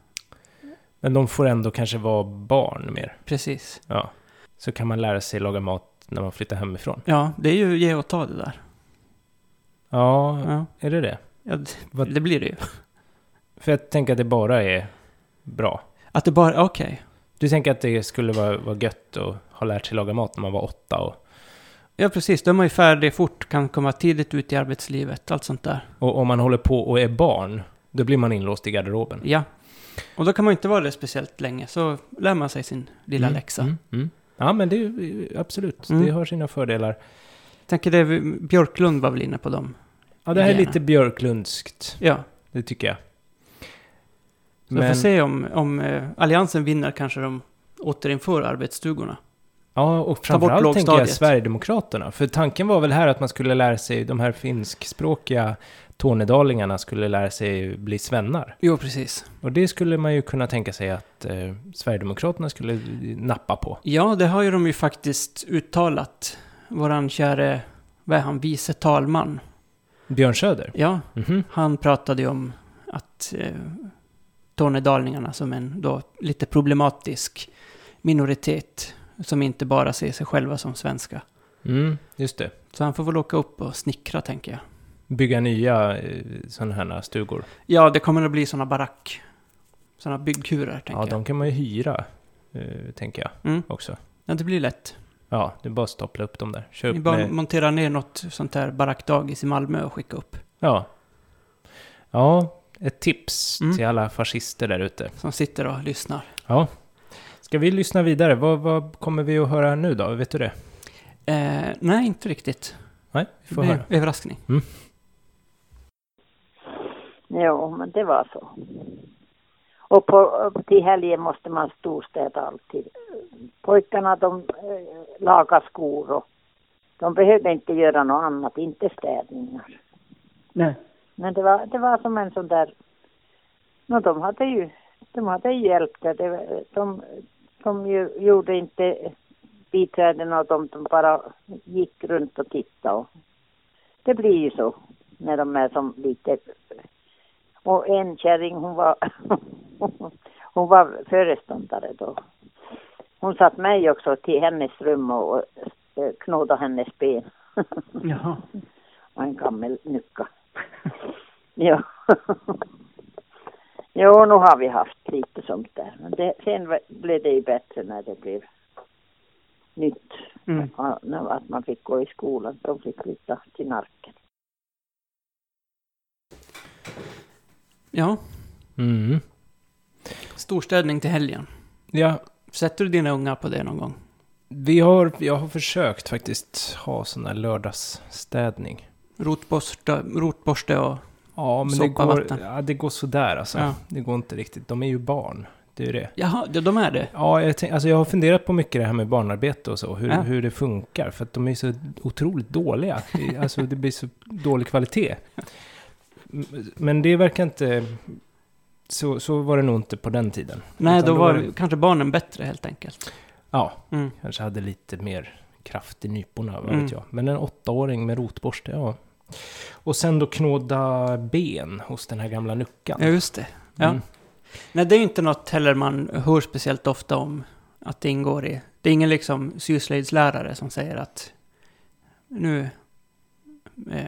Men de får ändå kanske vara barn mer.
Precis.
Ja. Så kan man lära sig laga mat när man flyttar hemifrån.
Ja, det är ju ge och ta det där.
Ja,
Ja,
är det det?
ja det,
Vad-
det blir det ju.
För jag tänker att det bara är bra.
Att det bara, okej.
Du tänker att det skulle vara, vara gött att ha lärt sig laga mat när man var åtta och,
Ja, precis. Då är man ju färdig fort, kan komma tidigt ut i arbetslivet, allt sånt där.
och om man håller på och är barn, då blir man inlåst i garderoben.
Ja. Och då kan man ju inte vara det speciellt länge, så lär man sig sin lilla läxa.
Mm, mm. Ja, men det är ju- absolut,
Mm.
det har sina fördelar.
Jag tänker det, vi- Björklund var väl inne på dem.
Ja, det här är
Gärna.
lite björklundskt,
Ja,
det tycker jag.
så vi får se om, om eh, alliansen vinner kanske de återinför arbetsstugorna.
Ja, och
Ta bort
framförallt tänker jag
lågstadiet.
Sverigedemokraterna. För tanken var väl här att man skulle lära sig, de här finskspråkiga tornedalingarna skulle lära sig bli svennar.
Jo, precis.
Och det skulle man ju kunna tänka sig att eh, Sverigedemokraterna skulle nappa på.
Ja, det har ju de ju faktiskt uttalat. Våran käre, vad är han, vice talman.
Björn Söder?
Ja,
Mhm.
han pratade ju om att eh, tornedalingarna som en då lite problematisk minoritet som inte bara ser sig själva som svenska.
Mm, just det.
Så han får väl åka upp och snickra, tänker jag.
Bygga nya eh, sådana här stugor.
Ja, det kommer att bli sådana barack. Sådana byggkurer, tänker
Ja, de kan man ju hyra, eh, tänker jag
jag. Mm.
också.
Ja, det blir lätt.
Ja, det är bara att stapla upp dem där. Kör
Ni
upp
bara
med...
monterar ner något sånt här barackdagis i Malmö och skicka upp.
Ja. Ja, ett tips
Mm.
till alla fascister där ute.
Som sitter och lyssnar.
Ja. Ska vi lyssna vidare? Vad, vad kommer vi att höra nu då? Vet du det?
Eh, nej, inte riktigt.
Nej, vi
Det
får
blir
höra.
överraskning.
jo, men det var så. Och på, till helgen måste man storstäda alltid. Pojkarna de eh, lagar skor och de behövde inte göra något annat, inte städningar.
Nej.
Men det var, det var som en sån där, no, de hade ju, de hade ju hjälp där. Det, var- de, de ju, gjorde inte biträden och de, de bara gick runt och tittade. Och, det blir ju så när de är som lite, och en kärring hon var, hon var föreståndare då. Hon satt mig också till hennes rum och eh, knådade hennes ben.
Jaha.
och en gammal nycka. ja. jo, nu har vi haft lite sånt där. Men det, No, sen var- blev det ju bättre när det blev nytt.
Mm.
Ja, nu Att man fick gå i skolan. De fick flytta till Narken.
Ja,
Mm.
storstädning till helgen.
Ja,
Sätter du dina unga på det någon gång?
vi har, jag har försökt faktiskt ha sån här lördagsstädning.
Rotborste, rotborste och...
Ja, men det
Soppa,
går,
vatten.
ja, det går sådär alltså.
Ja.
Det går inte riktigt. De är ju barn. Det är ju det.
Jaha, ja, de är det?
Ja, jag, tänk, alltså jag har funderat på mycket det här med barnarbete och så, hur,
Ja.
hur det funkar, för att de är så otroligt dåliga. Det- Alltså det blir så dålig kvalitet. M- Men det verkar inte... Så, så var det nog inte på den tiden.
Nej,
Utan
då var
det-
kanske barnen bättre helt enkelt.
Ja,
Mm.
kanske hade lite mer kraft i nyporna, vad
Mm.
vet jag. Men en åttaåring med rotborste, ja. Och sen då knåda ben hos den här gamla nuckan.
Ja, just det. Ja.
Mm.
Nej, det är inte något heller man hör speciellt ofta om att det ingår i. Det är ingen liksom syslöjdslärare som säger att nu... Eh,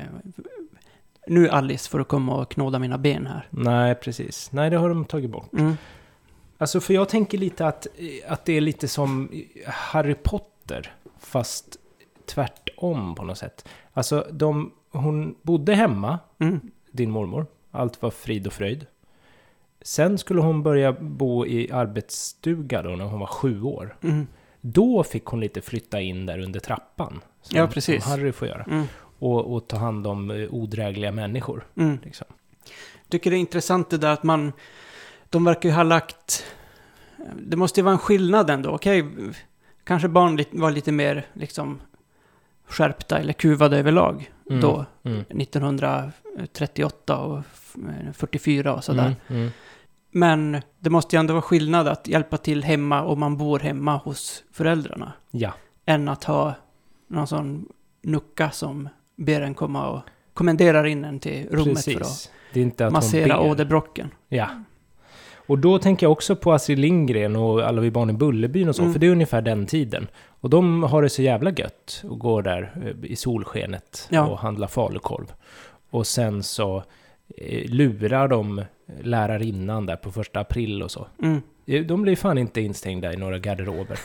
nu Alice får du komma och knåda mina ben här.
Nej, precis. Nej, det har de tagit bort.
Mm.
Alltså för jag tänker lite att, eh, att det är lite som eh, Harry Potter, fast tvärtom på något sätt. Alltså de, hon bodde hemma,
Mm.
din mormor, allt var frid och fröjd. Sen skulle hon börja bo i arbetsstuga då när hon var sju år.
Mm.
Då fick hon lite flytta in där under trappan. Som,
Ja, precis.
Som Harry får göra.
Mm.
Och, och ta hand om eh, odrägliga människor.
Mm.
Liksom.
tycker det är intressant det där att man... De verkar ju ha lagt... Det måste ju vara en skillnad ändå. Okej, kanske barn li- var lite mer liksom skärpta eller kuvade överlag
Mm,
då.
mm.
1938 och f- 44 och sådär.
Mm, mm.
Men det måste ju ändå vara skillnad att hjälpa till hemma om man bor hemma hos föräldrarna.
Ja.
Än att ha någon sån nucka som ber en komma och kommenderar in en till rummet för att
Precis. Det är inte att
massera
hon ber.
åderbrocken.
Ja. Och då tänker jag också på Astrid Lindgren och alla vi barn i Bullerbyn och så,
Mm.
för det är ungefär den tiden. Och de har det så jävla gött och går där eh, i solskenet
Ja.
och handlar falukorv. Och sen så eh, lurar de lärarinnan där på första april och så.
Mm.
Eh, De blir fan inte instängda i några garderober.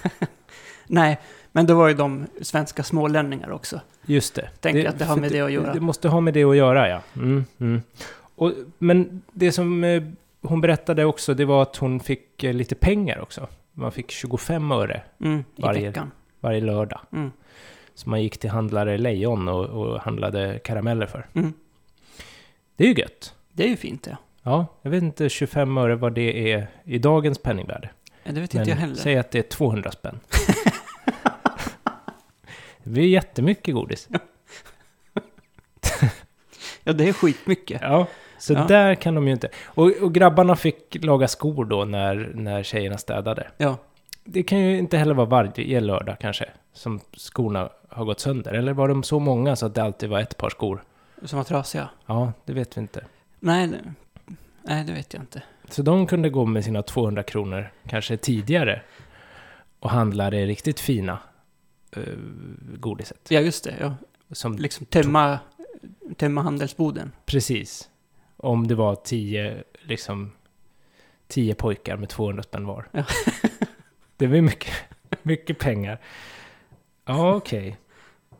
Nej, men det var ju de svenska smålänningar också.
Just det.
Tänker att det har med det att göra.
Det måste ha med det att göra, ja. Mm, mm. Och, men det som eh, hon berättade också, det var att hon fick eh, lite pengar också. Man fick 25 öre
Mm, I
Varje-
veckan.
varje lördag.
Mm.
Så man gick till handlare Lejon och, och handlade karameller för.
Mm.
Det är ju gött.
Det är ju fint det.
Ja, jag vet inte 25 öre vad det är i dagens penningvärde.
Ja, Det vet inte jag heller.
säg att det är 200 spänn. det blir jättemycket godis.
Ja, det är skitmycket.
Ja, så
Ja.
där kan de ju inte. Och, och grabbarna fick laga skor då när, när tjejerna städade.
Ja.
Det kan ju inte heller vara varje lördag kanske som skorna har gått sönder. Eller var de så många så att det alltid var ett par skor?
Som var trasiga.
Ja, det vet vi inte.
Nej, det- nej, det vet jag inte.
Så de kunde gå med sina 200 kronor kanske tidigare och handla det riktigt fina eh, godiset.
Ja, just det. Ja.
Som,
Liksom tömma, tömma handelsboden.
precis, om det var 10 liksom, tio pojkar med 200 spänn var.
Ja.
det var ju mycket, mycket pengar. Ja, okej.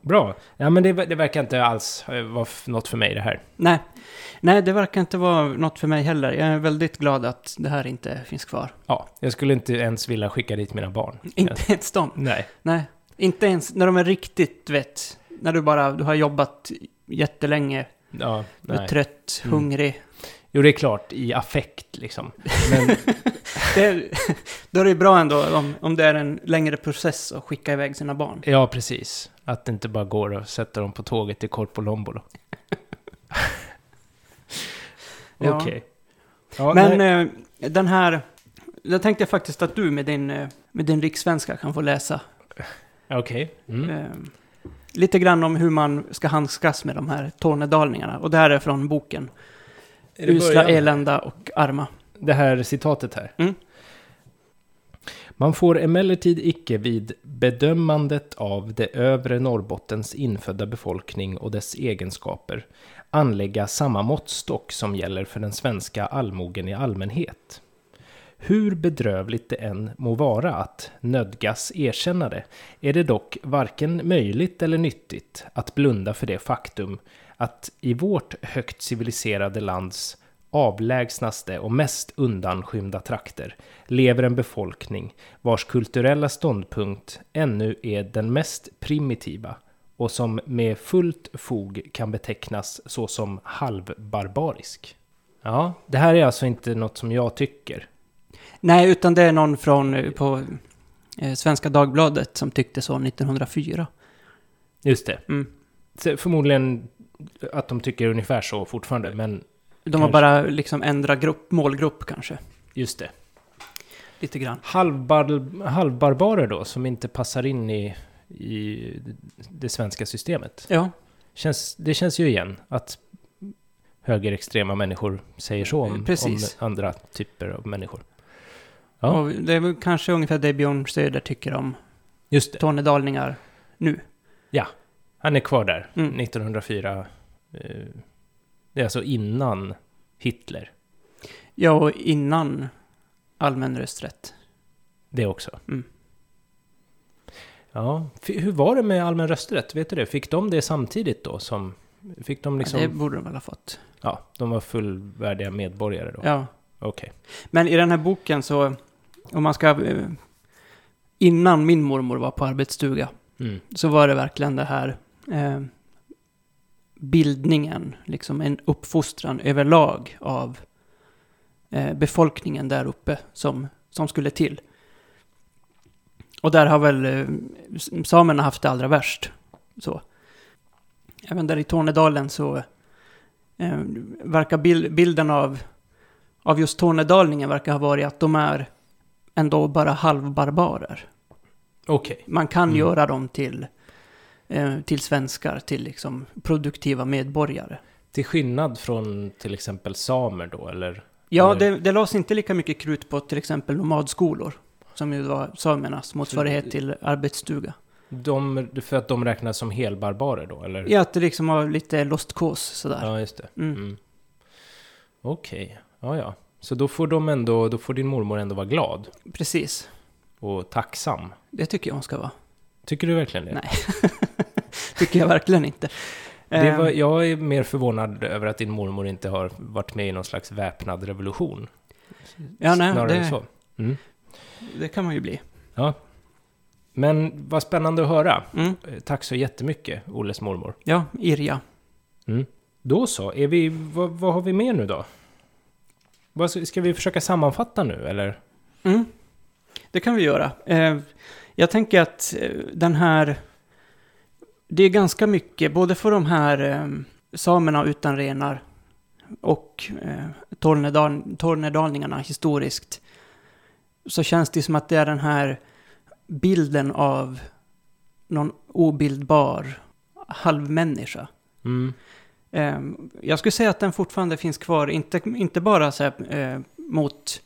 Bra. Ja, men det, ver- det verkar inte alls eh, vara f- något för mig det här.
Nej. nej, det verkar inte vara något för mig heller. Jag är väldigt glad att det här inte finns kvar.
Ja, jag skulle inte ens vilja skicka dit mina barn.
Inte
Jag,
ens de.
nej.
Nej, inte ens när de är riktigt, du vet, när du bara du har jobbat jättelänge,
Ja,
du är
nej.
trött,
Mm.
hungrig.
Jo, det är klart, i affekt liksom. Men,
Det är, då är det bra ändå om, om det är en längre process att skicka iväg sina barn.
Ja, precis. Att det inte bara går att sätta dem på tåget till Korpolombolo.
Ja.
Okej. Ja,
Men
nej.
eh, den här, jag tänkte faktiskt att du med din, eh, med din rikssvenska kan få läsa
Okej. Mm.
eh, lite grann om hur man ska handskas med de här tornedalingarna. Och det här är från boken
Är det
Usla,
början?
elända och arma.
Det här citatet här.
Mm.
Man får emellertid icke vid bedömandet av det övre Norrbottens infödda befolkning och dess egenskaper anlägga samma måttstock som gäller för den svenska allmogen i allmänhet. Hur bedrövligt det än må vara att nödgas erkänna det, är det dock varken möjligt eller nyttigt att blunda för det faktum att i vårt högt civiliserade lands avlägsnaste och mest undanskymda trakter lever en befolkning vars kulturella ståndpunkt ännu är den mest primitiva och som med fullt fog kan betecknas såsom halvbarbarisk. Ja, det här är alltså inte något som jag tycker.
Nej, utan det är någon från eh, på eh, Svenska Dagbladet som tyckte så 1904.
Just det.
Mm.
Så Förmodligen att de tycker ungefär så fortfarande, men
De har
Kanske.
bara liksom ändrat grupp, målgrupp kanske.
just det.
Lite grann.
Halvbar, halvbarbarer då, som inte passar in i, i det svenska systemet.
Ja,
Känns, det känns ju igen att högerextrema människor säger så om, om
Precis.
andra typer av människor. Ja.
ja. och det är väl kanske ungefär det Björn Söder tycker om
Just det.
tornedalingar nu.
Han är kvar där,
Mm.
1904. eh, Det är alltså innan Hitler,
Ja, och innan allmän rösträtt.
det också.
Mm.
Ja, f- hur var det med allmän rösträtt? Vet du det? Fick de det samtidigt då? Som, fick de liksom...
Ja,
Ja,
det borde de väl ha fått.
de var fullvärdiga medborgare då?
Ja.
Okej.
Men i den här boken så, om man ska... eh, Innan min mormor var på arbetsstuga
Mm.
så var det verkligen det här eh, bildningen, liksom en uppfostran överlag av eh, befolkningen där uppe som, som skulle till. Och där har väl eh, s- samerna haft det allra värst. Så. Även där i Tornedalen så eh, verkar bil, bilden av, av just tornedalningen verkar ha varit att de är ändå bara halvbarbarer
Okej.
man kan
Mm.
göra dem till, eh, till svenskar, till liksom produktiva medborgare.
Till skillnad från till exempel samer då, eller?
Ja,
Eller-
det, det lades inte lika mycket krut på till exempel nomadskolor, som ju var samernas motsvarighet till arbetsstuga.
De, för att de räknas som helbarbarer då, eller?
Ja, att det liksom var lite lost cause sådär.
Mm. Ja, just det.
Mm.
Mm. Okej, ja ja. Så då får, de ändå, då får din mormor ändå vara glad
Precis.
och tacksam.
Det tycker jag hon ska vara.
Tycker du verkligen det?
Nej. Tycker jag verkligen inte.
det var,
Ehm,
jag är mer förvånad över att din mormor inte har varit med i någon slags väpnad revolution.
ja, nej,
Snarare
det,
så. Mm.
det kan man ju bli.
Men vad spännande att höra.
Mm.
Eh, Tack så jättemycket, Olles mormor.
Ja, Irja.
Då så, är vi, vad, vad har vi mer nu då? Vad, ska ska vi försöka sammanfatta nu eller?
Mm. Det kan vi göra. Eh, jag tänker att eh, den här... Det är ganska mycket, både för de här eh, samerna utan renar och eh, tornedal, tornedalingarna historiskt, så känns det som att det är den här bilden av någon obildbar halvmänniska.
Mm.
Eh, jag skulle säga att den fortfarande finns kvar, inte, inte bara så här, eh, mot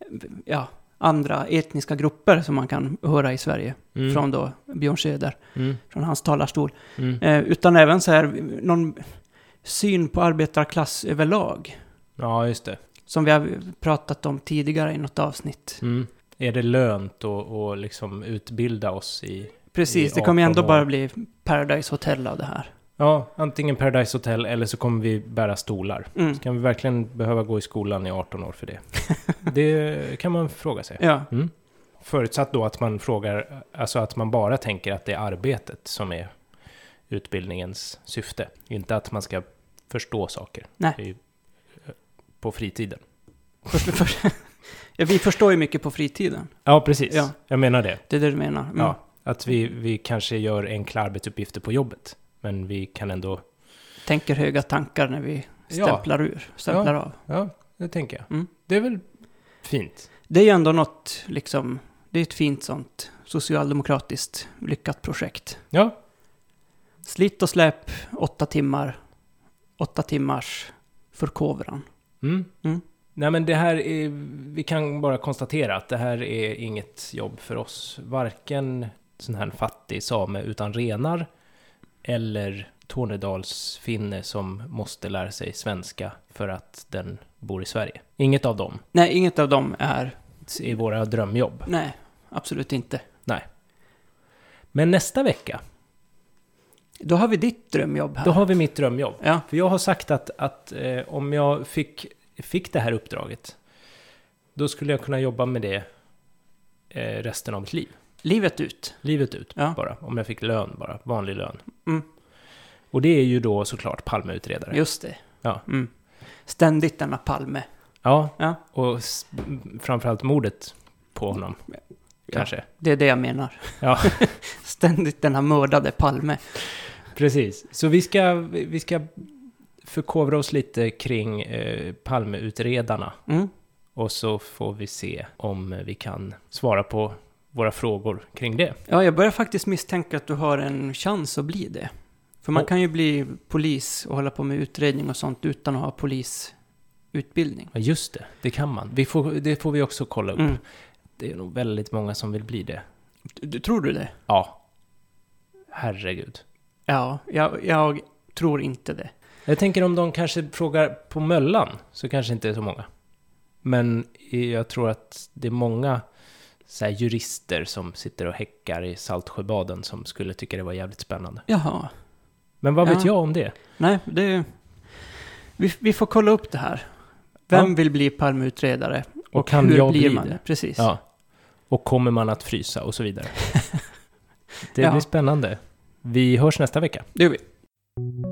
eh, ja, andra etniska grupper som man kan höra i Sverige,
Mm.
från då Björn Söder,
Mm.
från hans talarstol,
Mm.
eh, utan även så här, någon syn på arbetarklass överlag,
Ja, just det.
som vi har pratat om tidigare i något avsnitt.
Mm. Är det lönt att och liksom utbilda oss i...
Precis,
I
det kommer ju ändå
18 år.
bara bli Paradise Hotel av det här.
Ja, antingen Paradise Hotel eller så kommer vi bära stolar.
Mm.
Kan vi verkligen behöva gå i skolan i 18 år för det? Det kan man fråga sig.
Ja,
Förutsatt då att man frågar, alltså att man bara tänker att det är arbetet som är utbildningens syfte. Inte att man ska förstå saker.
Nej.
i- På fritiden.
först, först, ja, vi förstår ju mycket på fritiden.
Ja, precis.
Ja.
Jag menar det.
Det är det du menar? Mm.
Ja, att vi, vi kanske gör enkla arbetsuppgifter på jobbet. Men vi kan ändå...
tänker höga tankar när vi
Ja.
stämplar ur, stämplar av.
Ja, det tänker jag.
Mm.
Det är väl fint.
Det är ju ändå något, liksom, det är ett fint sånt socialdemokratiskt lyckat projekt.
Ja,
Slit och släp, åtta timmar, åtta timmars förkovran.
Mm.
Mm.
Nej men det här är, vi kan bara konstatera att det här är inget jobb för oss. Varken sån här fattig same utan renar eller Tornedalsfinne som måste lära sig svenska för att den bor i Sverige. Inget av dem
Nej, inget av dem är,
är våra drömjobb.
nej, absolut inte.
Men nästa vecka,
Då har vi ditt drömjobb här.
då har vi mitt drömjobb.
Ja,
För jag har sagt att, att eh, om jag fick fick det här uppdraget, då skulle jag kunna jobba med det eh, resten av mitt liv.
Livet ut.
Livet ut
Ja.
bara, om jag fick lön bara, vanlig lön.
Mm.
Och det är ju då såklart Palmeutredare.
Just det.
Ja.
Mm. Ständigt denna Palme.
Ja,
Ja.
och s- framförallt mordet på honom. Kanske.
Det är det jag menar.
Ja,
Ständigt denna mördade Palme.
precis. Så vi ska, vi ska förkovra oss lite kring eh, Palmeutredarna.
Mm.
Och så får vi se om eh, vi kan svara på våra frågor kring det.
Ja, jag börjar faktiskt misstänka att du har en chans att bli det. För man
Och-
kan ju bli polis och hålla på med utredning och sånt utan att ha polisutbildning.
Ja, just det. Det kan man. Vi får, det får vi också kolla upp.
Mm.
Det är nog väldigt många som vill bli det.
Du, du, tror du det?
Ja. Herregud.
Ja, jag, jag tror inte det.
Jag tänker om de kanske frågar på Möllan, så kanske inte är så många. Men jag tror att det är många så här, jurister som sitter och häckar i Saltsjöbaden som skulle tycka det var jävligt spännande.
Jaha.
Men vad vet
Ja.
jag om det?
Nej, det... Vi, vi får kolla upp det här. Vem
Ja.
vill bli Palmeutredare?
Och, kan
Hur
jag
blir
bli
man
det?
Precis.
Ja. Och kommer man att frysa och så vidare. det
Ja.
blir spännande. Vi hörs nästa vecka.
Det gör vi.